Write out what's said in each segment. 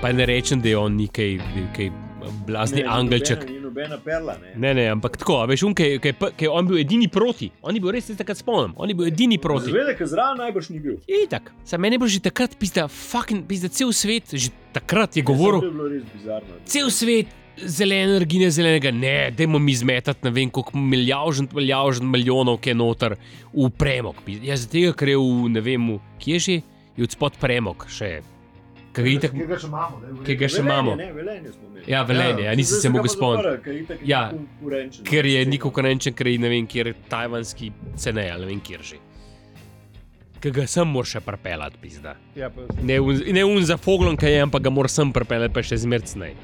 Pa ne rečem, da je on nekaj, nekaj blazni ne, angelček. Ni nobena perla. Ne? Ne, ne, ampak tako, a veš, um, ki je on bil edini proti. On je bil res, jaz se takrat spomnim, on je bil edini proti. Zveda, ker zraven najbrž ni bil. Itak. Za mene je bilo že takrat, pizda, fucking, pizda, cel svet, že takrat je To govoril, Ja, je bilo res bizarno. cel svet. Zelene energije, zelenega, ne, dajmo mi zmetati, ne vem, koliko milijavžen, milijavžen milijonov, ki je noter v premog. Pi- Ja, zaradi tega, ker je v, ne vem, v- kje je že, je odspod premog, še, kaj je itak, Ki ga še imamo, ne, v ki redu. ga še imamo. Ne, velenje smo imeli. Ja, velenje, ja, nisem se mogel spomniti. Ja, Ja, Ker je ni konkurenčen, ker je ne vem, kjer je tajvanski cenej ali ne vem, kjer že. Ki ga sem moraš še prepeljati, pizda. Ja, pa, Ne un, ne un za foglom, ki je, ampak ga moraš sem prepeljati, pa še zmercnej.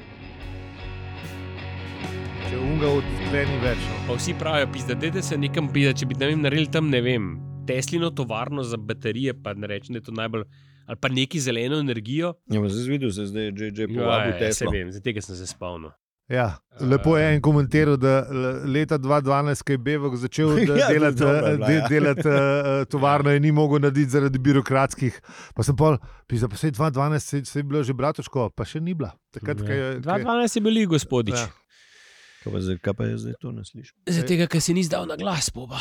če unga odstreni več. no. Pa vsi pravijo, pizda, dede se nekam pizda, če bi ne vem, naredili tam, ne vem, Teslino tovarno za baterije, pa ne rečem, da je to najbolj, ali pa neki zeleno energijo. Ja, pa zdaj videl, se zdaj je že že Ja, povabil ja, se Tesla. vem, za tega sem se spomnil. Ja, lepo je en komentiral, da le- leta 2012, ko je Bevok začel da Ja, to je delati dobra eh, bila, de- ja. delati, eh, eh, tovarno in ni mogel narediti zaradi birokratskih. Pa sem pol, pisal, pa se je 2012, se, se je bilo že bratoško, pa še ni bila. Takrat, ko je. ko je- 2012 je bil Lee gospodič. Ja. Ja. Kaj pa zdaj- Kaj pa jaz zdaj to ne slišim? Zaradi tega, ker si nisi dal na glas, boba.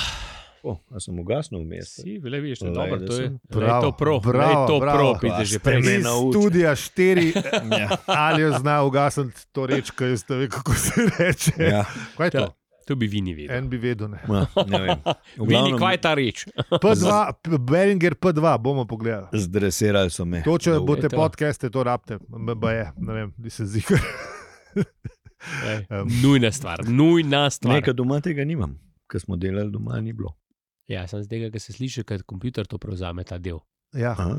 O, a sem ugasnil vmes. Si, bile, vidiš, to je Lej, dobro, da to je sem. lej, to pro, lej, Bravo, to bravo. pro, pide že prej. me Iz naučil. Studija 4, Ja. ali jo zna ugasniti to reč, ki jaz ne vem, kako se reče. Ja, Kaj je to? Ja, to bi vi ni vedeli. En bi vedel. Ne. ma, ne vem. V Vini, glavnem, kaj je ta reč? P2, P- Beringer P2, bomo pogledali. Zdresirali so me. To, če Dolgo. boste to. podcaste, to rabite, mbaje, ne vem, di se zdi. Ej, Em. Nujna stvar, nujna stvar. Nekaj doma tega nimam, ker smo delali doma, ni bilo. Ja, sem z tega, ker se sliši, ker komputer to prevzame ta del. Ja. Aha.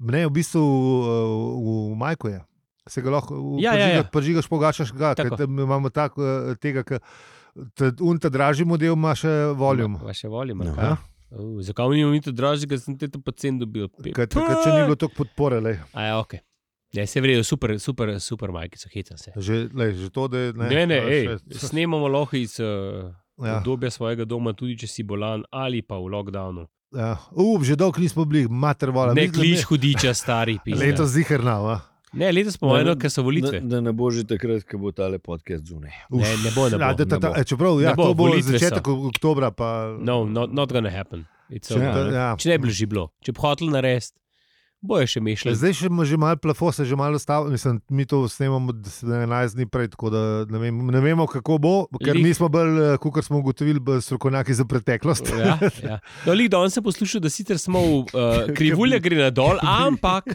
Ne, v bistvu eh, v, v Majku je. Se ga lahko Ja, ja, ja. požigaš, pogačaš ga. ker Tako. tam Imamo tako eh, tega, ki unta draži model, ima še Ja? voljum. Vaše voljum. Aha. Uh, zakaj mi imamo to dražje, ker sem te to pacen dobil? Pe- Ker takrat še ni bilo toliko podpore. Lej. A ja, ok. Ne, se vrejo, super, super, super, majke so hitam se. Že, lej, že to, da je. Ne, ne, ne to je ej, še- snemamo lahko iz uh, Ja, obdobja svojega doma, tudi če si bolan ali pa v lockdownu. ja. Uf, že dolgo nismo bili, mater vola. Ne kliš ja. hudiča, stari pisatelj. Leto zihrnava. Ne, letos smo eno, ker so volitve. Da, da ne bo že takrat, ko bo tale podcast zunaj. Ne, ne bo, ne bo, da, ta, ne ta, bo. e, čeprav, ja, Ne bo, to bo volitve so. začetek ok- oktobra. Pa, No, not, not gonna happen. It's Če over, ne, ne. ja. Če ne bi bilo že bilo, če bi hotel narediti, boje še mišljali. Zdaj še ima že malo plafo, se že malo stavlja. Mislim, mi to snemamo 11 dni prej, tako da ne, vem, ne vemo, kako bo, ker Lik. mi smo bolj, eh, kot smo ugotovili, bolj strokovnjaki za preteklost. Ja, ja. No, lik danes sem poslušal, da sicer smo v uh, krivulje gre na dol, ampak,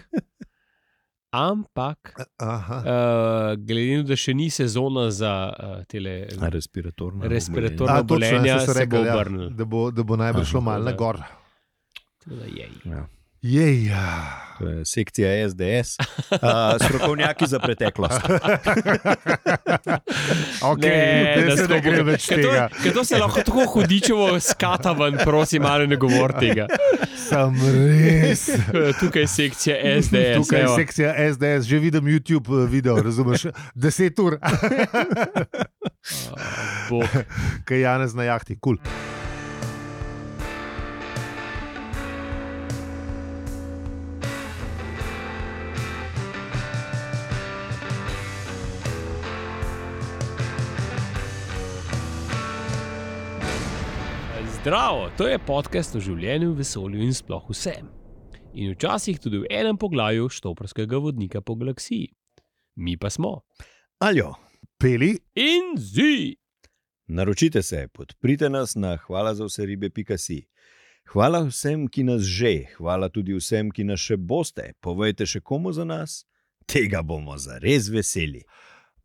ampak Aha. uh, glede na to, da še ni sezona za uh, tele A Respiratorno. Respiratorno. A, Prvo točno, ja, bolenje saj so se rekli, bo ja, obrnilo. da bo, da bo najbrž Aha, šlo malo tako na da- gor. je. Ja. Jej, ja. To je sekcija SDS, uh, strokovnjaki za preteklost. Okay, ne, da se ne gre Ja, več tega. Kdo se lahko tako hudičevo skata ven, prosim, malo ne govor tega. Sam res. Tukaj je sekcija SDS. Tukaj je evo. sekcija SDS, že vidim YouTube eh, video, razumeš? 10 ur, A, Eh, bog. kaj Janez na jahti, kul. Cool. Zdravo, to je podcast o življenju, vesolju in sploh vsem. In včasih tudi v enem poglavju štoprskega vodnika po galaksiji. Mi pa smo. Aljo, Peli, In zi! naročite se, podprite nas na hvala za vse ribe.si. Hvala vsem, ki nas že, hvala tudi vsem, ki nas še boste. Povejte še komu za nas, tega bomo zares veseli.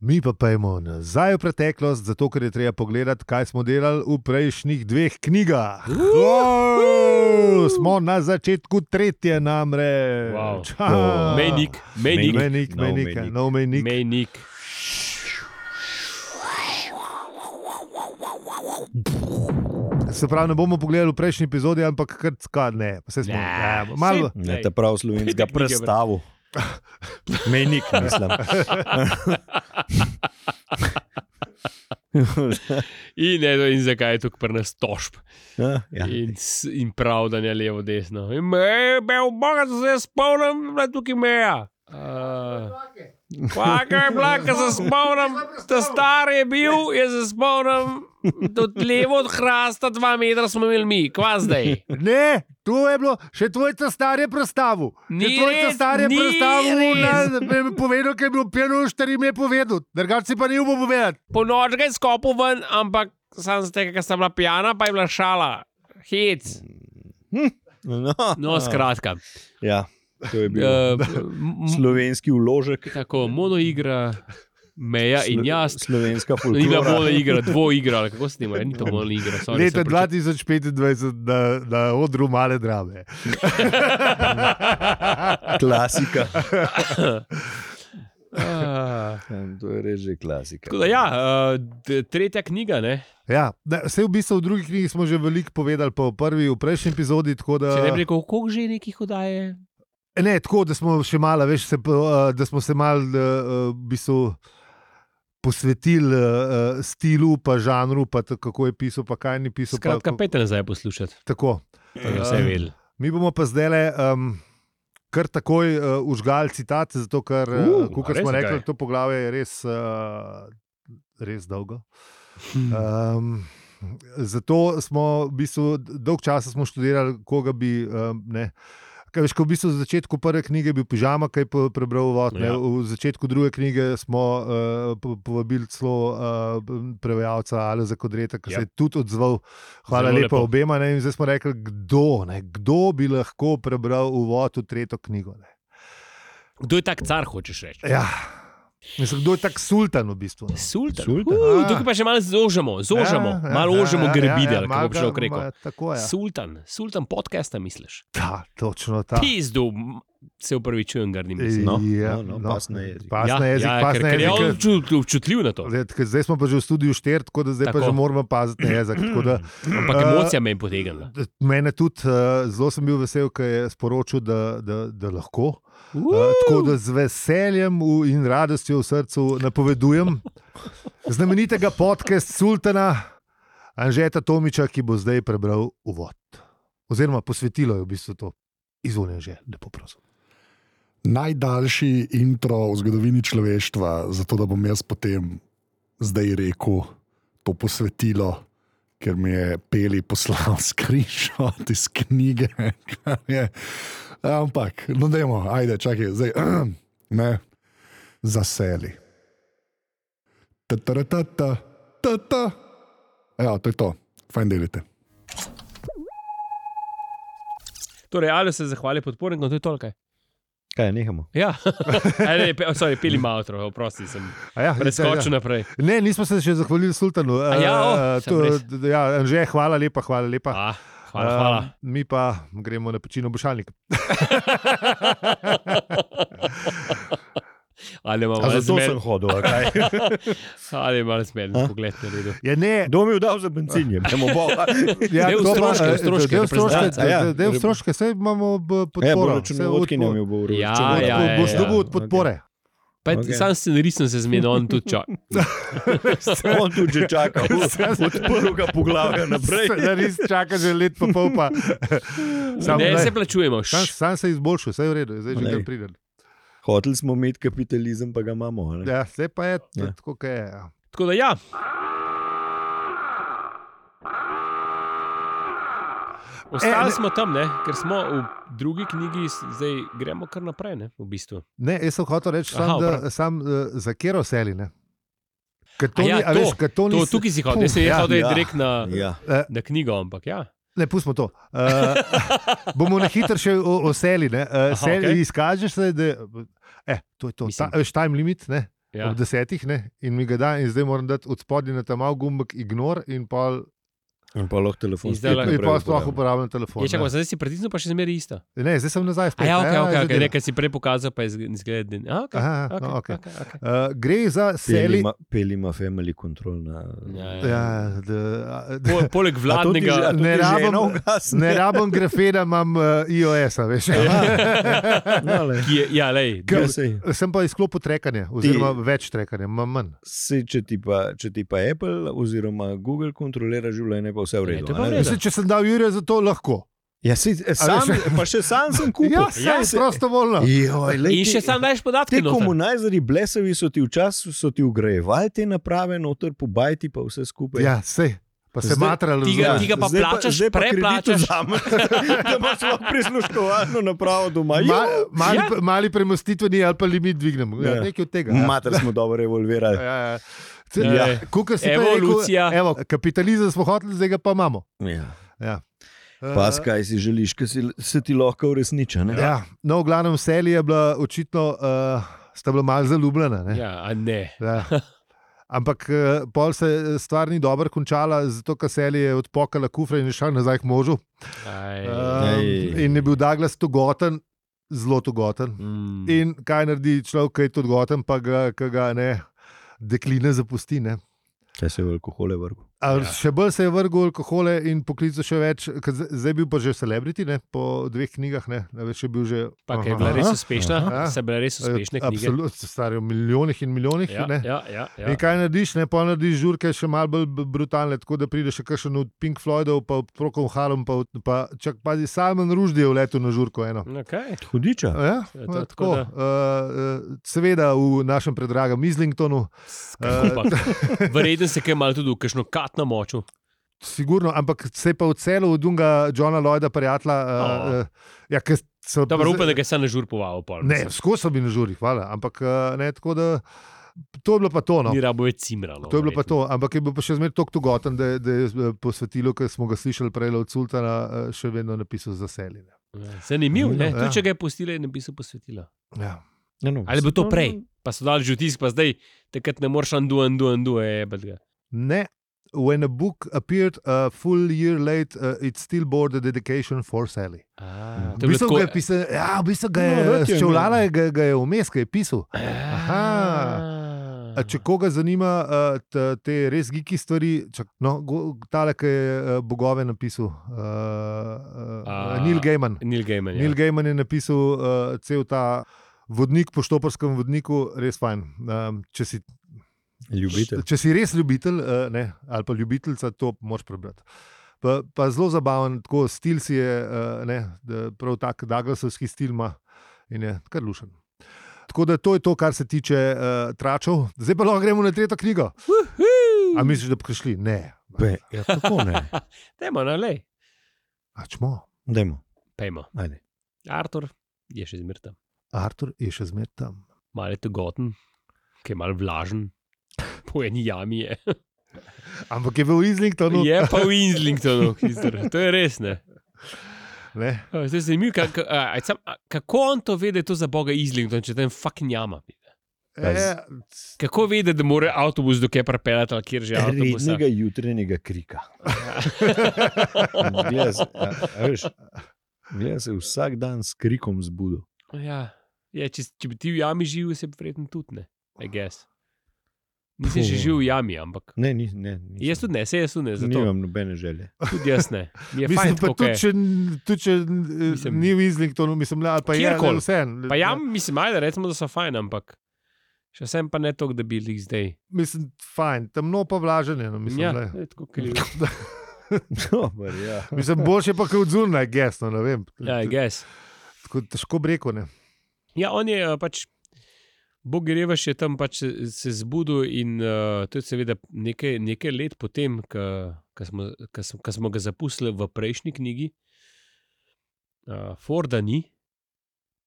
mi pa pojmo nazaj v preteklost, zato ker je treba pogledati, kaj smo delali v prejšnjih dveh knjigah. Wow, smo na začetku tretje namreč. Wow. No, Ah. Mejnik, mejnik, Mejnik, Nov mejnik, mejnik. nov mejnik. mejnik. Se pravi, ne bomo pogledali v prejšnji epizodi, ampak kar tka, ne. Vse smo, Ne, ja, malo, saj- Ne, Ej. ta prav slovenskega Knjige, brat. predstavu. Mejnik, mislim. In, edo, in zakaj je tukaj pri nas tožb Ja, ja. in, s- in pravdanje levo, desno. In me je bil bogat, da se jaz spomnim, da je tukaj meja. Kvakar, blaka, se spomnim, ta star je bil, jaz se spomnim, tudi levo od hrasta, dva metra smo imeli mi, kva zdaj. Ne, to je bilo, še tvoj star je predstavil. Ni tvoj res, star je ni predstavil, res. da je povedal, ker je bil pijan, štiri mi je povedal, drugače si pa ni upal povedati. Po noč ga je skopil ven, ampak sam ste, ker sem bila pijana, pa je bila šala. Hec. No, No, skratka. Ja, to je bil uh, Eh, m- slovenski uložek. Tako, monoigra, meja in slo- jaz. Slovenska No, Ni bila folklora. monoigra, dvoigra, ali kako se nima, ni to monoigra. sorry, Leta sem preči- 2025 na, na odru male drame. Klasika. Ah, Ja, To je res že klasika. Tako da, ja, eh, d- tretja knjiga, ne? Ja, ne, vse v bistvu v drugi knjigi smo že veliko povedali, pa v prvi, v prejšnji epizodi. tako da- Če ne bi rekel, koliko že je nekih odaje. Ne, tako da smo še malo, veš, se, po- eh, da smo se malo eh, v bistvu, posvetili eh, eh, stilu, pa žanru, pa t- kako je pisal, pa kaj ni pisal. pa Skratka, kako- pete nazaj poslušati, Tako. da bi Ah. vse vedeli. Mi bomo pa zdaj le. Um, Kar takoj uh, užgal citat, zato ker, Uh, uh, a kot res, smo rekli, zakaj? to poglavje je res, uh, res dolgo. Ah. Um, zato smo v bistvu dolg časa smo študirali, koga bi. Um, ne, Kaj, veš, ko v bistvu v začetku prve knjige je bil pižama, kaj je prebral vod, Ja. ja. v začetku druge knjige smo uh, povabili celo uh, prevajalca Aleza Kodreta, ki Ja. ja. se je tudi odzval. Zelo Hvala lepa lepo. obema. Ne, in zdaj smo rekli, kdo, ne, kdo bi lahko prebral uvod v tretjo knjigo. Ne. Kdo je tak car, hočeš reči? Ja, mislim, kdo je tak sultan v bistvu. No. Sultan. Sultan. Uh, Ah. tukaj pa še malo zožemo, zožemo, ja, malo ožemo ja, grebide, ja, ja, kako malo bi ga- šel rekel. ma- Tako je. Ja. Sultan, sultan podcasta misliš. Da, točno Ta. ta. Pizdu, m, se upravičujem, gardim. mislim. No, Ja, no, no, pas na jezik. Pas na jezik, ja, pas ker, na ker je jezik. on ker- občut- občutljiv na to. Zdaj, ker zdaj smo pa že v studiu štir, tako da zdaj tako. pa Tako. že moramo paziti na jezik. tako Da, Ampak Eh, emocija me je potegnila. mene tudi eh, zelo sem bil vesel, ker je sporočil, da, da, da lahko. Uh, Uh, tako da z veseljem v- in radostjo v srcu napovedujem znamenitega podcasta Sultana Anžeta Tomiča, ki bo zdaj prebral uvod. Oziroma posvetilo je v bistvu to. Izvoljen že, lepo prosim. najdaljši intro v zgodovini človeštva, zato da bom jaz potem zdaj rekel to posvetilo, ker mi je peli poslal screenshot iz knjige. kar je. Ampak, no, dajmo, ajde, čakaj, zdaj ne, zaseli. Tataratata, tata. Ja, to je to, fajn delite. torej, ali se zahvali podpornikom, to je toliko. Kaj, nehamo. Ja, e, ne, pe, sorry, pili malo, oprosti sem. A Ja, Preskočil naprej. Ne, nismo se še zahvalili Sultanu. A ja, o, Eh, sem res. to- ja, Anže, hvala lepa, hvala lepa. Ah, hvala, hvala. Eh, mi pa gremo na pečino bošalnik. Ali imamo A malo zato sem zmeden, hodil. a kaj? ali je malo zmeden pogled na redu. Ja, ne, Kdo mi je dal za benzinje? ja, Del kdo pa- stroške, eh, stroške del stroške, reprezentance. A ja. del- del stroške, vse imamo b- Ja, bo podporo. vse računovodkinja odpo- mi bo uredila. Ja, Računovodka. ja, ja, Boš ja. dobil od podpore. Pa Okej. okay. sam scenarij sem se zmedel, on tudi čak. On tudi že čaka, od prvega poglavja naprej. Da res čaka že let pa pol. Pa. Sam, Ne, glej, se plačujemo. šš. sam, sam se izboljšuje, vse je v redu, zdaj že Glej. kar pridem. Hoteli smo imeti kapitalizem, pa ga imamo. a ne? Ja, zdaj pa je Ja. ja. tako, kot je. ja. Tako da ja, E, ostali ne- smo tam, ne? ker smo v drugi knjigi, s- zdaj gremo kar naprej, ne? v bistvu. Ne, jaz sem hotel reči, Aha, sam, prav. da, sam eh, za kero seline. A ja, to, to, To, tukaj si hodil, jaz sem Puh, ja, jehal, da je ja. direkt na, Ja. na knjigo, ampak ja. Ne, pustimo to. Uh, bomo na hitro še o, o seli. Uh, Aha, seli okej. okay. Izkažeš se, da eh, to je to. Mislim. Ta, veš, time limit ne, ja. ja. ob desetih ne, in mi ga da, in zdaj moram dati od spodaj na ta mal gumbek ignor in pol, In pa lahko telefon. In zdaj spet lahko- in naprej pol sploh uporabljam. uporabljam telefon. Je čakal, ne. zdaj si pritisnil, pa še zmeraj isto. Ne, zdaj sem nazaj Ja, A spet. ja, ok, ja, ok, že okay. delam. nekaj si prej pokazal, pa je zgled. A, ok, Aha, ok, no, ok. ok, ok. Uh, gre za Peli seli. ima- Peli ima family control na. Ja, ja. Ja, da, da, Po- Poleg A to ti že- no, a vladnega, to ti Ne žena rabim- ugasne? ne rabim grafena, imam uh, iOS-a, veš. Ja, lej. ki je, ja, lej, Ja, sej. Sem pa izklopil trekanje, oziroma Ti. več trekanja, imam manj. Sej, če, ti pa, če ti pa Apple oziroma Google kontrolira življenje, pa vse v Ne, redu. to je pa v a ne? redu. Mislim, če sem dal Jurija za to, lahko. Ja, si, sam, pa še sam sem kupil. Ja, saj, Ja, ja, se- prostovoljno. Joj, lej, In še ti- sam daš podatke. Ti noter. komunizerji, blesavi so ti včasih so ti ugrajevali te naprave, noter pobajti pa vse skupaj. Ja, sej, pa se Zdaj- matralo. Ti ga- zraven. ti ga pa zdaj plačaš, zdaj pa kredit preplačaš. vzameš, da imaš lahko prisluškovalno napravo doma. Ma, mali, ja. ja. mali premostitveni ali pa limit dvignemo. Ja, Ja. nekaj od tega. Ja. ja. Mater smo dobro revolverali. Ja. Ja, ja. Ja. Kukaj si prej Evolucija. Rekel, evo, kapitalizem smo hoteli, zdaj ga pa imamo. Ja. Ja. Pa skaj si želiš, ki si, se ti lahko uresniča. ne? Ja, no, v glavnem Seli je bila očitno, uh, sta bila malo zaljubljena. ne. Ja, a ne. Ja. Ampak eh, pol se eh, stvar ni dobro končala, zato ker Seli je odpokala kufra in je šla nazaj k možu. Aj. Um, Ej. in je bil Douglas togoten, zelo togoten. Mm. In kaj naredi človek, ki je togoten, pa ga, ki ga ne, dekline zapusti. Ne? Kaj se v alkohole vrgu. Ja. Ja. Še bolj se je vrgel v alkohole in poklical še več, ker z- zdaj je bil pa že celebrity, ne? po dveh knjigah, ne, ne veš, je bil že. Pa ker je bila Aha, res uspešna, aha. se je bila res uspešna knjiga. Absolutno, stari v milijonih in milijonih. Ja, ne. ja, ja, In ja. kaj narediš, ne pa narediš žurke še malo bolj b- brutalne, tako da prideš še kakšen od Pink Floydov, pa od Prokom Halom, pa, od- pa čak pazi, Simon Ruždi je vletel na žurko eno. Okay. Hudiča. Ja, Mm. Ja, to, to- tako, tako da. uh, seveda v našem predragem Islingtonu, eh, Verjetno se je malo tudi v kakšno kat namočil. sigurno, ampak se je pa v celu od Dunga, Johna Lloyda, prijatelja. Uh, O. uh, ja, ker so- Oh. Dobro, upam, da ga je sam nažur poval. Pol, Ne, skozi so bili na žuri, hvala. Ampak uh, ne, tako da to je bilo pa to. no. No. Ni rabo je cimralo. To je bilo pa to, ampak je bil pa še zmeraj tako togoten, da, je- da je eh, posvetilo, ki smo ga slišali prej od Sultana, eh, še vedno napisal za seljenje. Zanimivo, ne? Ja. Tudi če ga je pustila, ne bi se posvetila. Ja. Ja, no, Ali je bilo to prej? Pa so dali že vtis, pa zdaj takrat ne moreš andu, andu, andu, je bedga. Ne. When a book appeared a full year late, uh, it still bore the dedication for Sally. V bistvu ga je pisal, ja, v bistvu ga je No, no, red je ščevljala, ga, ga je vmes, ga je pisal. Aha. A če koga zanima uh, t, te res giki stvari, čak, no, go- tale, ki je uh, bogove napisal, uh, uh, A. Neil Gaiman. Neil Gaiman. Neil Ja. Gaiman je napisal uh, cel ta vodnik po štoparskem vodniku, res fajn. Um, če, si, Ljubitelj. če si res ljubitelj uh, ne, ali pa ljubiteljica, to moraš prebrati. Pa, pa zelo zabaven, tako stil si je, uh, ne, da prav tak Daglasovski stil ima in je kar lušen. Tako da to je to, kar se tiče uh, tračev. Zdaj pa lahko gremo na tretjo knjigo. A misliš, da bi prišli? Ne. Be, ja, kako ne? Dajmo, no, lej. Ačmo. Dajmo, Pejmo. ajde. Artur je še zmeraj tam. Artur je še zmeraj tam. Mal je togoten, ki je mal vlažen. Po eni jami je. Ampak je v Islingtonu. Je pa v Islingtonu, hister. to je res. Ne? Ne? A, Zdaj se mi, kak, a, a, sam, a, kako on to ve, da je to za boga Islington, če tam fucking jama. E, Kako ve, da mora avtobus do kje prepeljati, ali Eh, kjer že avtobus. Rednega jutranjega krika. Gleda se, a, a veš, gleda se vsak dan s krikom zbudil. Ja, ja če, če bi ti v jami živel, se bi verjetno tudi ne. I guess. Nisem že Puh. živel v jami, ampak. Ne, ni, ne, nisem. Jaz tudi ne, se jaz tudi ne, zato nimam nobene želje. tudi jaz ne. Mi je Mislim, fajn, pa tako, tudi, kaj. če, tudi, če mislim, Mislim- ni v Islingtonu, mislim, ali Ja, pa je Kjerkoli. vse. Pa jam, mislim, ajde, recimo, da so fajn, ampak še sem pa ne to, da bi jih zdaj. Mislim, fajn, temno pa vlaženje. No, mislim, Ja, glej. je tako, kot je. Dobar, ja. mislim, boljše pa kot zunaj, gesno, ne vem. Ja, I guess. Tako težko breko ne. Ja, on je eh, pač. Bog Revaš je tam pač se, se zbudil in uh, to je seveda nekaj, nekaj let potem, ko smo, ka smo, ka smo ga zapustili v prejšnji knjigi. Uh, Forda ni,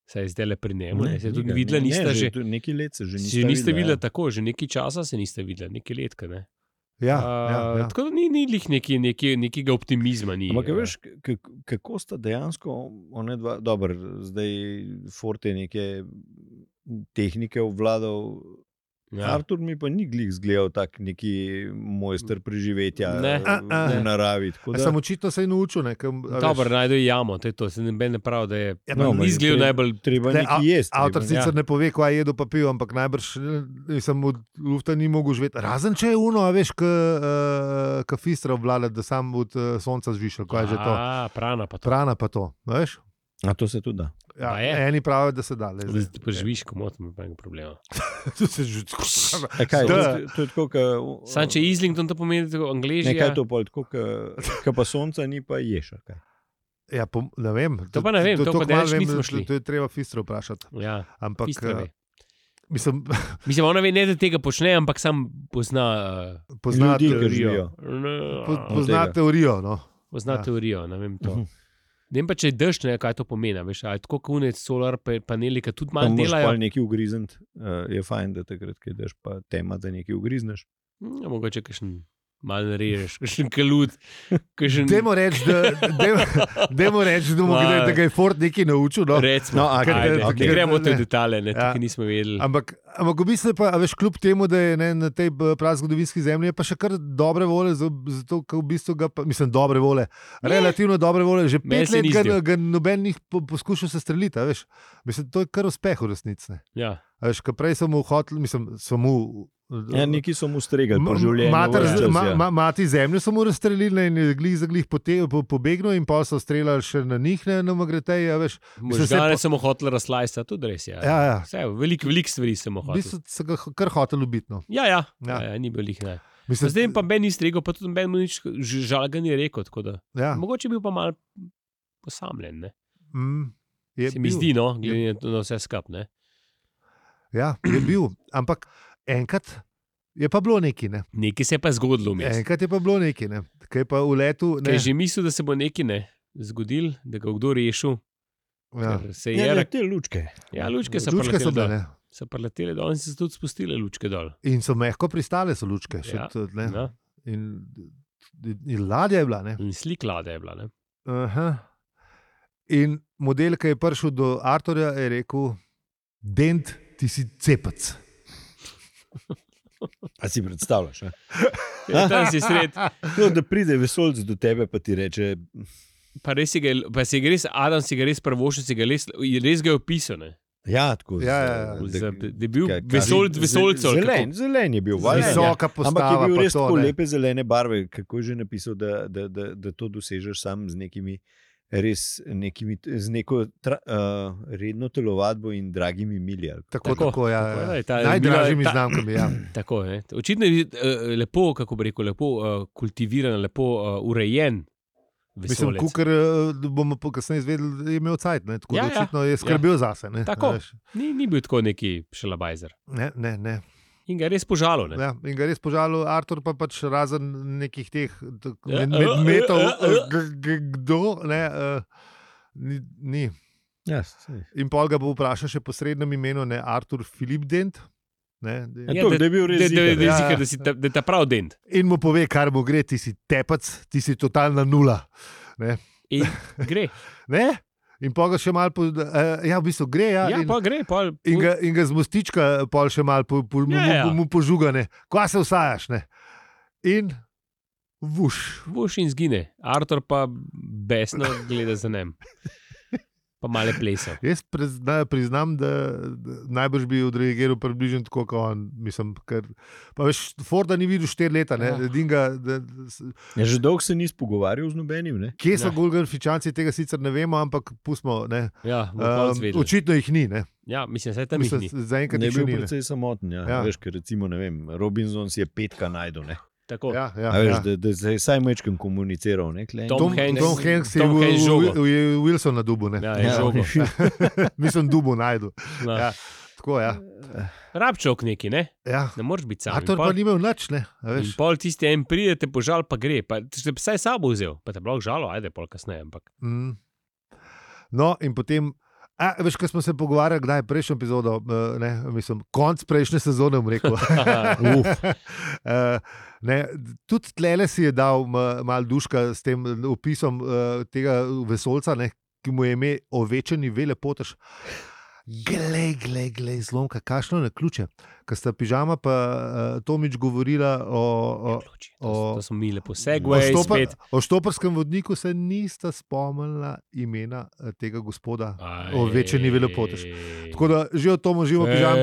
saj je zdaj le pri njemu, ne, se je tudi tega, videla, ne, nista ne, že. tu Nekaj let se že nista, Že niste videla, ja. videli tako, že nekaj časa se niste videli, nekaj let. ka Ne? Ja, A, ja, ja. Tako da ni, ni lih neki, neki, nekega optimizma. Ni, Ampak, a eh. veš, k- k- kako sta dejansko ona dva, dobro, zdaj Forte neke tehnike obvladal. Ja. ja. Artur mi pa ni glih zgledal tak neki mojster preživetja Ne. eh, A, a. v naravi. tako Ja, da- Sem očitno se je naučil. Ne, kam, Dobro, najdu jamo, to je to, se ne, ne pravi, da je. Ja, Ja, pa no, ni- ni izgledal treba- najbolj Treba Ne, je nekaj jesti. Avtor treba- ja. sicer ne pove, kaj je jedel, pa pil, ampak najbrž eh, sem od lufta ni mogel živeti. Razen če je uno, a veš, k, uh, k fistra obvladati, da sam od uh, sonca zvišal, kaj je že to. A, prana pa to. Prana pa to, a veš? A to se tudi da. Ja, Pa je. eni pravijo, da se da. le zdaj. Ja. Zdaj Preživiš, komot, nobenega problema. Tu se že tako E, kaj, Da. to, to je tako, kot Sam če ja. Islington to pomeni, da je angliži. Nekaj to pol, tako, kot pa sonca ni, pa ješ. a Kaj. Ja, po, ne vem. To pa ne vem, to pa tako malo daleč nismo da- šli. To je treba fistro vprašati. Ja, Ampak, Fistra ve. eh, mislim, Mislim, ona ve, ne, da tega počne, ampak sam pozna. pozna Ljudi, ki teorijo. živijo. Uh, Po, po, pozna tega. teorijo. No. pozna ja. ja. teorijo, ne vem to. Mhm. Ne vem pa, če je dež, ne, kaj to pomeni. a Veš, ali tako kunec, solar pa- paneli, ki tudi Tam malo moraš delajo. pa nekaj ugrizniti, uh, je fajn, da takrat, ki daš pa tema, da nekaj ugrizneš. Ja, mogoče kakšen mal narežeš, kakšen kalud. Kakšen... Dajmo reči, da, dajmo- dajmo reči, da, mu, Ma. da, da ga je Ford nekaj naučil. No. Recimo, No, no, a, okay, kaj, ajde, ok. okay. gremo v te Ne. detajle, ne, ja. Ja. ki nismo vedeli. Ampak, ampak v bistvu je pa, a veš, kljub temu, da je ne, na tej eh, prazgodovinski zemlji, je pa še kar dobre volje, za- zato ker v bistvu ga, pa, mislim, dobre volje, relativno dobre volje, že Meni pet se let ni ga, zdel. ga noben jih po, poskušal sestreliti, a veš. Mislim, to je kar uspeh v resnici. ne. Ja. A Veš, ker prej sem mu hotel, mislim, sem mu. Ja, neki so mu stregali po M- življenju. mater- ves čas, ma, ja. ma, mati zemljo so mu razstrelili in je glih za glih pote- po- pobegnil, in pa so streljali še na njih, ne na Magreteji. a veš. Mislim, se Možgane po- po... sem hotel razlajsti, tudi res je. Ja. Ja, ja. Vse, veliko, veliko stvari sem V hotel. bistvu so ga h- kar hotel ubiti. No. Ja, ja. Ja. ja. ja ni bil jih naj. Mislim, Zdaj jim pa Ben ni rekel, pa tudi Ben mu nič ž- žalega ni rekel. tako Da. ja. Mogoče je bil pa mal posamljen. Ne? Mm, je Je Se mi bil. bil. zdi, no, glede na to, na vse skupne. Ja, je bil. Ampak enkrat je pa bilo nekaj. Ne? Nekaj se je pa zgodilo vmes. Enkrat je pa bilo nekaj, ne? kaj je pa v letu. Ker Ne? je že mislil, da se bo nekaj ne, zgodil, da ga bo kdo rešil. Ja. ker Se je Ne, ne, rekel, te lučke. ja, lučke so Lučke so bile. priletele. ne. So priletele dol in se so tudi spustile lučke dol. In so mehko pristale, so lučke. Ja. Ja. Tudi, ne. Ja. in, in, in ladja je bila. Ne? In slik lade je bila. Ne? Aha. In model, ki je prišel do Arturja, je rekel: Dent, ti si cepec. A si predstavljaš? a? Ja, Tam si sred, To, da pride vesolc do tebe, pa ti reče, pa res si ga, je- pa si ga res, Adam si ga res prvošil, si ga res, res ga je opisal. ne. ja, tako. Ja, ja, ja. z- Za- Da da- je bil kaj- kaj- vesolc, z- vesolcev. ali kako? Zelen, zelen je bil, valjda. Visoka Ampak je postava. bil pa res to, tako ne. lepe zelene barve, kako je že napisal, da, da, da, da to dosežeš sam z nekimi. Res nekimi, z neko tra, uh, redno telovadbo in dragimi milji. Tako, Tako, tako, ja, tako, ja. ja, ta je Najdražjimi bila- ta- znamkami. Ja. Tako, ne. Očitno je eh, lepo, kako bi rekel, lepo eh, kultiviran, lepo eh, urejen. Mislim, Vesolec. kukar bomo po- kasneje izvedeli, da je imel cajt, ne, tako ja, Ja, da ja. očitno je skrbel ja. zase. Ne, Tako. veš. Ni, ni bil tako neki šalabajzer. Ne, ne, ne. In ga je res požalo. Ne? Ja, in ga je res požalil, Artur pa pač razen nekih teh tak- Ja, med- eh, medmetov, eh, eh, eh. g- g- kdo, ne, eh, ni, ni. Ja, saj. In pol ga bo vprašal še po srednjem imenu, ne Artur Filip Dent. Ne, da- Ja, Ja, to, da- da je Da, bil res da, da, da, ziher. ja. zika, da, si ta, da je ta prav dent. In mu pove, kar mu gre, ti si tepec, ti si totalna nula. In gre. Ne? In pa ga še malo, po, eh, ja, v bistvu gre. Ja, Ja, in, pa gre. Pa, In ga, in ga z mostička eh, pol še malo po, po, mu, Ja, ja. mu, mu požugane, kva se vsajaš. Ne? In vuš. Vuš in zgine. Artur pa besno gleda za njem. Pa male plesa. Jaz prizna, priznam, da, da najbrž bi odreagiral približno tako kot on. Mislim, ker, pa veš, Forda ni videl štiri leta, ne, Ja. Dinga, da, da, s- Ja, že dolgo se nisi pogovarjal z nobenim. Ne? kje so Ja. Gulgarfičanci, tega sicer ne vemo, ampak pustimo. ne. Ja, Ehm, um, očitno jih ni. ne. ja, mislim, da je tam Mislim, misli. Zaenkrat Ne jih je še bil ni. ne. precej samoten. Ja. Ja. Ja. Veš, ker recimo, ne vem, Robinson si je petka najdel. Ne? Tako. Ja. Ja, ja, A veš, ja. da, da se je vsaj mečkam komuniciral. Ne? Tule en- Tom Tom, Hanks- Tom Hanks je Tom v- Hanks v- žogo. v- je Wilson na dubu. ne. Ja, je Ja. žogo. Mislim, dubu najdu. No. Ja. Ja. Tako, ja. Rabčok neki, ne? Ja. Ne moreš biti sam. In Artur pol- pa ni imel nič, ne. a In Veš. pol tisti en pride, te požal, pa gre. Pa, če bi vsaj sabo vzel, pa te blok žalo, ajde pol kasneje. Ampak. Mm. No, in potem. A, veš, ko smo se pogovarjali, kdaj je prejšnjo epizodo, eh, ne, mislim, konc prejšnje sezone, bom rekel. Uf. Eh, ne, tudi tlele si je dal malo duška s tem opisom eh, tega vesolca, ne, ki mu je ime ovečeni velepotež. Glej, glej, glej, zlomka, kašno na ključe. Ker sta pižama pa uh, Tomič govorila o, o, Luči, o- To, to smo mi lepo O, segway, stopa, spet. o štoprskem vodniku se nista spomnila imena eh, tega gospoda. O večni velepotež. Tako da že o tom živo pižam.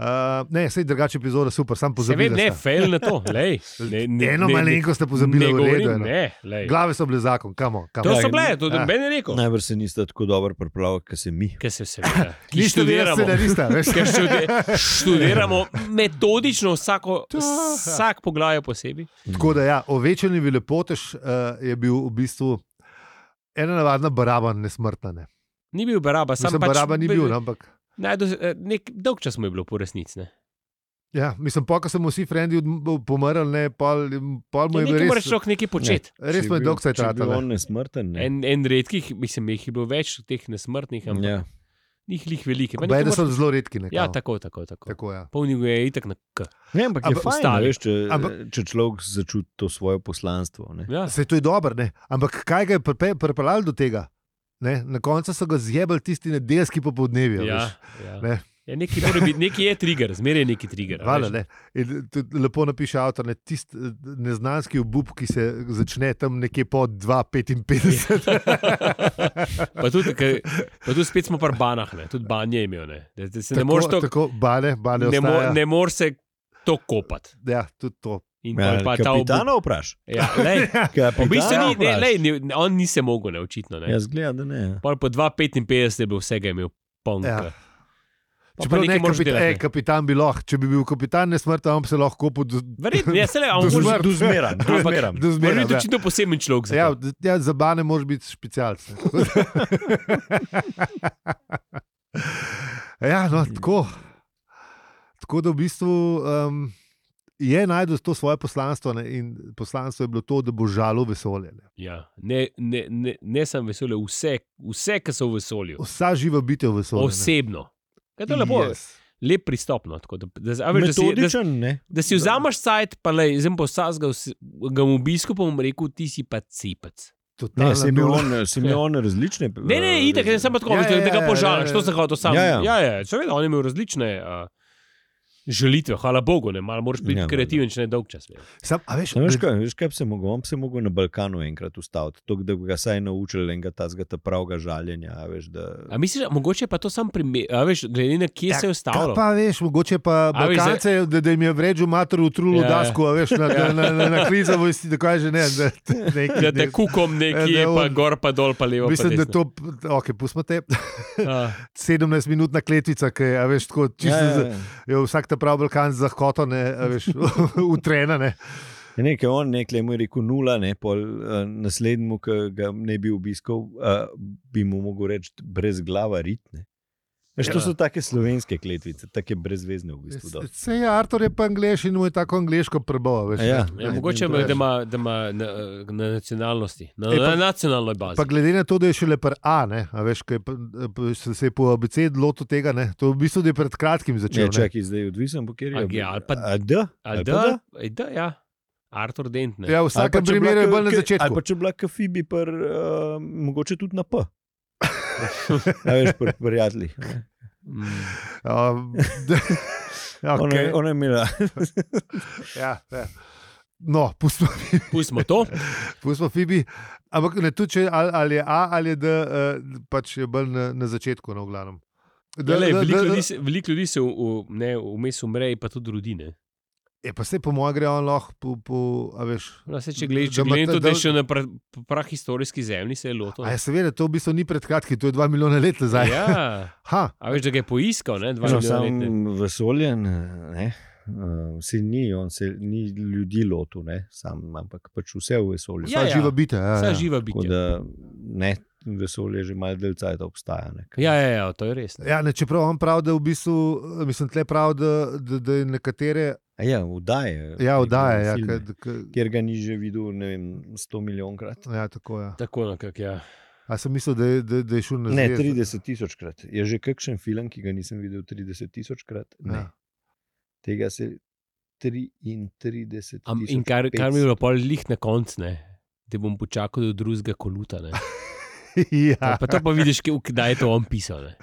Uh, ne, vse je drugače epizoda, super, sam pozabim. Seveda, ne, fejl na to. Lej, ne, ne, Eno ne, malenko ste pozabili, ne v govorim, redu. eno. Ne, lej. Glave so bile zakon, kamo. kamo. To so bile, to Ja. ja. meni je rekel. Najbrž se nista tako dobro pripravila, kot se mi. Ker se seveda, ki Niste vedeli, študiramo. da niste, veš. Ker štude- študiramo metodično vsako, vsak poglavje posebej. eh, Tako da, ja, ovečeni velepotež uh, je bil v bistvu ena navadna baraba nesmrtna. Ne. Ni bil baraba, sam Mislim, pač, baraba ni be- bil, no, ampak. Najdu, eh, nek, dolg čas mu je bilo po resnici. ne. Ja, mislim, pa, ko so mu vsi frendi od- pomrli, ne, pol, pol mu Ja, je bilo Nekaj moraš res. človek nekaj početi. Res mu je dolgo se Če je bil tratalo. on nesmrten. Ne? En, en redkih, mislim, jih je bilo več teh nesmrtnih, ampak ja. Ja. njih lih veliko. Pa nekaj Bede so moraš- zelo redki. Ne, Ja, tako, tako. tako. tako. tako ja. Polnil je itak na K. Ne, ampak je Ampak- fajn, Ustavi. veš, če, Ampak- če človek začuti to svoje poslanstvo. Ne? Ja. Vse to je dobro, ne? ampak kaj ga je pripe- pripeljalo do tega? Ne? Na koncu so ga zjebali tisti nedeljski popoldnevi. a Ja, veš. ja. Ne. Ne. Ja, nekaj, mora biti, nekaj je trigger, zmeraj je neki trigger. a Hvala, veš. ne. In tudi lepo napiše avtor, ne, tisti eh, neznanski obup, ki se začne tam nekje po 2,55. Pa tudi, ke- pa tudi spet smo pri banah, ne. tudi ban je imel. Ne, da, da se ne Tako- moreš to- Tako, bale, bale. ne mo- ostaja. ne moreš se to kopati. Ja, tudi to. In pol Ja, pa ta obu- kapitana vpraš. Ja, lej, v bistvu Kapitana ni, ne, vpraš. lej, ni, on ni se mogel, ne, očitno. Ne. Jaz gledam, da ne. ja. Pol po 2,55 je bil vsega imel poln. Ja. Ja. Čeprav ne, kapit, delati, delati, ne. ne. kapitan bi lahko, če bi bil kapitan nesmrten, on bi se lahko kopal do, Verjetno, jaz se le, on Do mora smrti. Du zmeram, du Ampak- zmeram. do mora zmeraj. biti očitno poseben človek. za Ja, to. d- ja, za bane moraš biti specialce. ja, no, tako. Tako da v bistvu um, je najdel to svoje poslanstvo ne, in poslanstvo je bilo to, da bo žalo vesolje. Ne. Ja. Ne, ne, ne, ne sem vesolje, vse, vse ki so v vesolju. Vsa živa bitja v vesolju. Osebno. Kaj to je lepo, yes. lep pristopno. Tako, da, da, a veš, da, si, da, Metodičen, ne. da si vzameš sajt, pa le, zdaj pa vsazga ga v obisku, pa mu rekel, ti si pa cepec. Ne, se mi bilo. on, se mi on različne. Ja. Ne, ne, itak, ne sem pa tako, Ja, ja, ja, ja, da ja, ga ja, ja. požališ, to sem hotel sam. Ja, Ja, ja. ja, ja, ja seveda, on je imel različne uh, želitve, hvala Bogu, ne, malo moraš biti Ja, ja, valjda. kreativen, če ne dolg čas. Ne. Sam, a veš, Ne, veš, da- kaj, veš, kaj bi se mogel? On bi se mogel na Balkanu enkrat ustaviti, tako da bi ga saj naučili enega tazga ta pravega žaljenja. a Veš, da... A misliš, da mogoče je pa to sam primer, a veš, glede na kje Ja, ja, se je Kaj ustavilo. pa veš, mogoče pa A veš, zdaj- Balkance, da, da jim je vrežil mater utrulo Ja, ja. dasko, a veš, na, na, na, na, na krizo, vojsi, da kaj že ne. Da, neki, Da te kukom nekje, da pa on- gor, pa dol, pa levo. Mislim, pa da desno. to, ok, pustimo te. A, ja, 17-minutna kletvica, ki je, a veš, tako čisto. Ja, Ja, ja, Je vsak ta pravi Balkan z lahkoto, ne, a veš, utrena. Ne. ja. Nekaj on, nekaj mu je rekel nula, ne, pol, uh, naslednjemu, ki ga ne bi obiskal, uh, bi mu mogel reči brez glava ritne. Veš, to Ja. so take slovenske kletvice, take brezvezne v bistvu. dosti. Se je Artur je pa angliš in mu je tako angliško prebava, veš. Ja. ne. Ja, mogoče in ima, to je- da ima, da ima na, na nacionalnosti, na, E, pa- na nacionalnoj bazi. Pa glede na to, da je šele pr A, ne, a veš, kaj je pr, pr, se se je po ABC lotil tega, ne, to je v bistvu da je pred kratkim Če začel. ne. čakaj, zdaj je odvisen, po kateri A G ali pa- A da, a da, ja. Artur Dent. Ne. E, Ja, v vsakem primeru je bolj na začetku. Ali pa če bila kafibi, uh, mogoče tudi na P. A veš, pri prijateljih. a ne. Mm. Um, Ona, okay. je- ona je imela ja, ja. No, pustimo, Pustimo to. pustimo Fibi. Ampak ne tu, če ali, ali je A ali je D, eh, pač je bolj na, na začetku, no, v glavnem. Da- Dele, da- Ja, veliko, da- ljudi se, veliko ljudi se v- v- ne, vmes umre, pa tudi rodine. Je E, pa se po mojem gre on lahko po, po a veš. Če gledaš, Da če ima gledaš ta tudi da je dol- še na pra, prahistorijski zemlji, se je lotil. A je seveda, to v bistvu ni pred kratkim, to je dva milijona let nazaj. Ja, Ha, a veš, da ga je poiskal, ne, dva No, milijona sam let. ne. vesoljen, eh, ne. Uh, se ni, on se ni ljudi lotil, ne, sam, ampak pač vse v vesolju. Ja, ta ja. živa bitja. Ja, Vsa ja. živa Tako bitja. da ne, vesolje že malo del cajt obstaja. Ne. Ja, ja, ja, to je res. ne. Ja, ne, čeprav on pravi, da v bistvu, mislim, tle pravi, da, da, da je nekatere, A ja, vdaje. ja, oddaje, ja, filme, kad, kad, Kjer ga ni že videl, ne vem, 100 milijonkrat. ja, tako je. Ja. Tako nekako, ja. A sem mislil, da je, da, da je šel na Ne, 30 tisočkrat. Je že kakšen film, ki ga nisem videl 30 tisočkrat. Ja. Ja. Tega se 33 Am, tisoč. in kar, kar mi je bilo pol lih na koncu, ne, da bom počakal do drugega koluta. Ne. ja, Pa, pa to pa vidiš, kje- kdaj je to on pisal. Ne.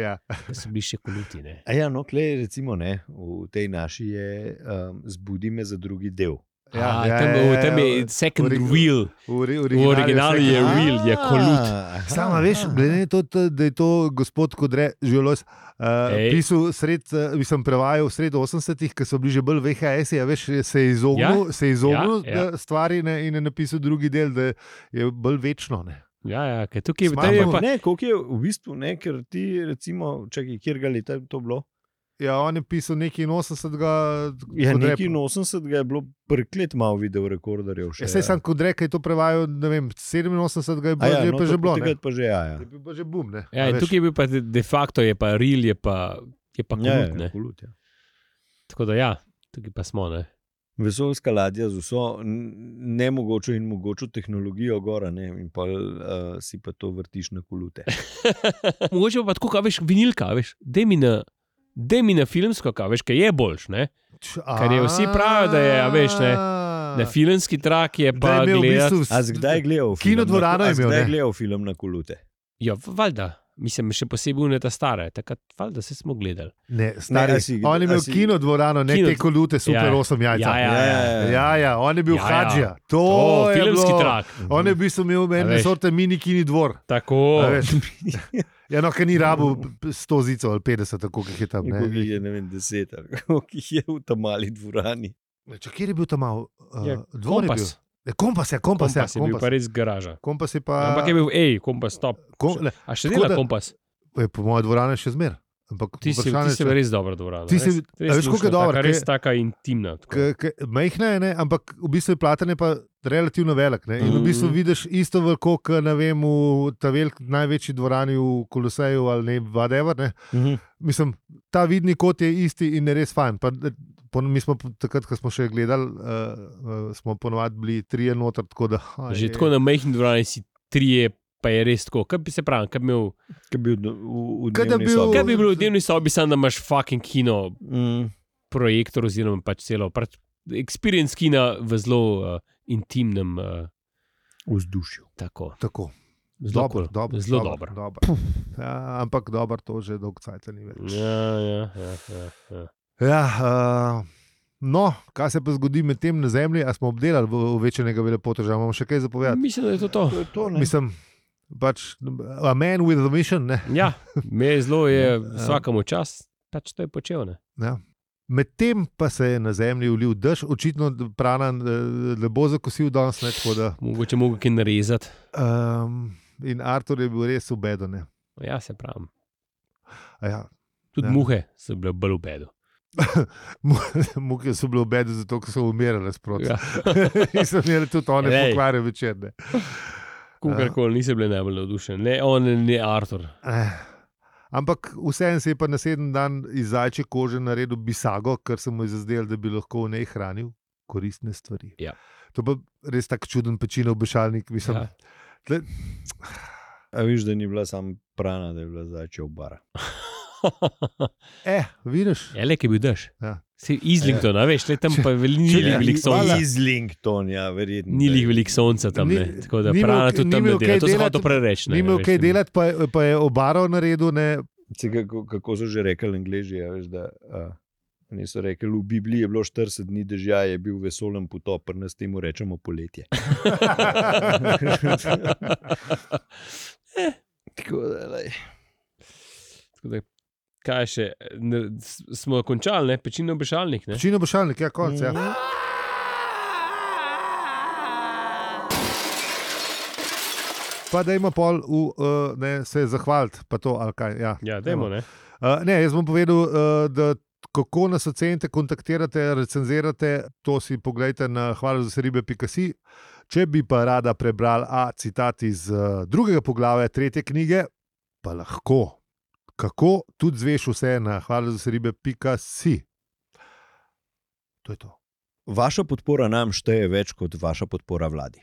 ja. Da so bili še koluti. Ne. A ja, no, klej, recimo, ne, v tej naši je um, zbudi me za drugi del. Ja, A, ja, tam, ja, ja, tam ja. je second Origi- wheel. V, ori- originalu vse- je Ah, real, je kolut. Sama veš, glede na to, t- da je to gospod Kodre, želos, uh, Ej. pisal sred, uh, sem prevajal sred 80-ih, ki so bili že bolj VHS-i, a veš, se je izognil, ja? se je izognil ja, ja. ja, ja. stvari ne, in je napisal drugi del, da je bolj večno. Ne. Ja, ja, ker tukaj Smart tam je bomb. pa. Ne, koliko je v bistvu, ne, ker ti, recimo, čakaj, kjer ga leta je to bilo? Ja, on je pisal nekaj 80. Ja, nekaj 80 je bilo prklet malo video rekorderjev. Ja, sej sem kot rekel, je to prevajal, ne vem, 87 je bilo, ja, ja, no, pa že bilo. ne. Takrat pa že, ja. ja. Je bil pa že bum, ne. Ja, A in veš. tukaj je bil pa de- de facto, je pa real, je pa, je pa Ja, kult. ja, ne. Kolut, ja. Tako da ja, tukaj pa smo. Ne. Vesoljska ladja z vso n- nemogočo in mogočo tehnologijo, gora, ne, in pa uh, si pa to vrtiš na kolute. Mogoče pa tako, kaj veš, vinilka, a veš, dej mi na, dej mi na filmsko, kaj veš, kaj je boljš. Ne? Č- Kar je vsi pravijo, da je, a veš, ne, Na filmski trak je Da je pa imel v gledati. bistvu A si kdaj gledal film? Kinodvorano na- je a si imel, Kdaj ne? gledal film na kolute? Ja, valjda. Mislim, še posebej ne ta stara, takrat valjda se smo gledali. Ne, stari, Ne, ne, a si- si, on je imel a si- kino dvorano, ne Kino- te kolute, super Ja, ja. 8 jajca. Ja, ja, ja. ja, ja, on je bil Ja, ja, ja. Hadžija. Ja. To O, je filmski bilo. trak. On je v bistvu imel A ene veš. sorte mini kini dvor. Tako. a veš. Ja, no, ker ni rabo 100 zicov ali 50, tako kot je tam. Ne, Ne. je, ne vem, deset, ali koliko jih je v tam mali dvorani. Če kjer je bil tam mal, uh, Ja, dvor je bil. Kompas. Ne, kompas je, kompas, Kompas je ja, bil kompas. pa res garaža. kompas je pa. Ampak je bil, hej, kompas, stop. kom, le, A še Tako dela da- kompas? je po mojem dvoranu še zmer. Ampak Ti si, ti vprašanje si je, če- res dobro dvorana. Ti si- res, a veš, koliko je dobro, Taka, res kaj- taka intimna. tako. K- k- Majhna je, ne? ampak v bistvu je platan je pa relativno velik. Ne? In v bistvu Mhm. vidiš isto veliko, kot ne vem, v ta velik največji dvorani v Koloseju ali ne, Vadever. Ne? Mhm. Mislim, ta vidni kot je isti in je res fajn. Pa, eh, po, mi smo po- takrat, ko smo še gledali, uh, uh, smo ponovadi bili trije noter, tako da. Aj, Že tako na majhni dvorani si trije, pa je res tako. Kaj bi se pravi, kaj bi imel? Kaj bi v, d- v, v Kaj da dnevni bi v- sobi. Kaj bi bilo v dnevni sobi, samo da imaš fucking kino, Mm. projektor oziroma pač celo. Pač experience kina v zelo uh, intimnem, uh, Vzdušju. tako. tako. Zelo Dobro, dobro. dobro, zelo dobro, dobro. dobro. Ja, ampak dobro, to že dolgo časa ni več. Ja, ja, ja, ja, ja. Ja, uh, no, kaj se pa zgodi med tem na zemlji, ali smo obdelali v- večnega velepoteža, imamo še kaj zapovedati. Mislim, da je to to. To je to, ne. Mislim, pač, a man with a mission. Ne? Ja, me je zelo je Ja. vsakemu čas, pač to je počel. Ne? Ja. Medtem pa se je na zemlji ulil dež, očitno d- prana eh, ne bo zakosil danes. Ne, tako da, Mogoče mogo kaj narezati. um, in Artur je bil res ubeden. Ja, se pravi. Ja. Tudi Ja. ja. muhe so bile bolj v bedu. Mu- Muke so bile obede, zato ker so umirale sproti. Ja. Ja. in so imeli tudi one Glej. pokvarjene večerne. Kukorkoli nisem bil najbolj navdušen, ne on, ne Artur. Eh, Ampak vseeno se je pa naslednji dan iz zajče kože naredil bisago, ker sem mu je zazdel, da bi lahko v njej hranil koristne stvari. Ja. To pa res tako čuden pečino obešalnik, mislim. Ja. Ja. A veš, da ni bila samo prana, da je bila začel bara. Eh, vidiš? Ja, le, ki bil daš. Ja. Si Izlington, a veš, le tam pa veli- ni lih veliko sonca. Iz Linkedon, ja, verjetno. Ni da lih je. veliko sonca tam, Ni- ne. tako da ni imel prana k- tudi ni tam ne imel dela. kaj To sem delati, hotel prereči. Ni imel veš, kaj ne. Ja. delati, pa, je- pa je obaro naredil. Ne, Se, kako, kako so že rekli angliži, ja, veš, da a, niso rekli, v Bibliji je bilo 40 dni dežja, je bil vesolen potop, pa nas temu rečemo poletje. Tako da, lej. Tako da, Kaj še, ne, s- smo končali, ne? pečino obešalnik. Ne? pečino obešalnik, ja, konc. Ja. Mm. Pa da ima pol, v, uh, ne, se zahvaliti, pa to ali kaj. Ja, Ja, dajmo, ne. Uh, ne, jaz bom povedal, uh, da kako nas ocenite, kontaktirate, recenzirate, to si pogledajte na hvala za ribe.si. Če bi pa rada prebrala a, citat iz uh, drugega poglavja, tretje knjige, pa lahko. Kako tudi zveš vse na hvala za ribe.si. To je to. Vaša podpora nam šteje več kot vaša podpora vladi.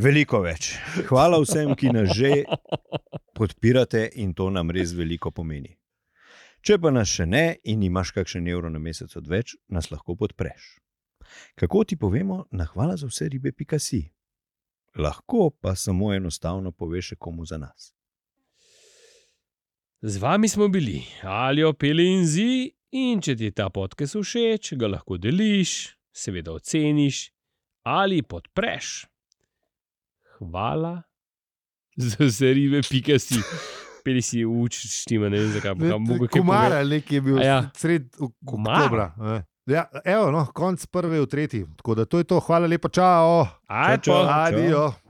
Veliko več. Hvala vsem, ki nas že podpirate in to nam res veliko pomeni. Če pa nas še ne in imaš kakšen evro na mesec od več, nas lahko podpreš. Kako ti povemo, na hvala za vse ribe, pika si. Lahko pa samo enostavno poveš še komu za nas. Z vami smo bili Alijo Pelinzi in če ti je ta podcast všeč, ga lahko deliš, seveda oceniš ali podpreš. Hvala za vse ribe, pika si. Peli si učiš, tima, ne vem zakaj. Ne, Kumar ali neki je bil A ja. ja. sred ok- Kumar? oktobra. eh. Ja, evo, no, konc prve v tretji. Tako da to je to. Hvala lepa, čao. Aj, Čau, čau. pa. Adijo.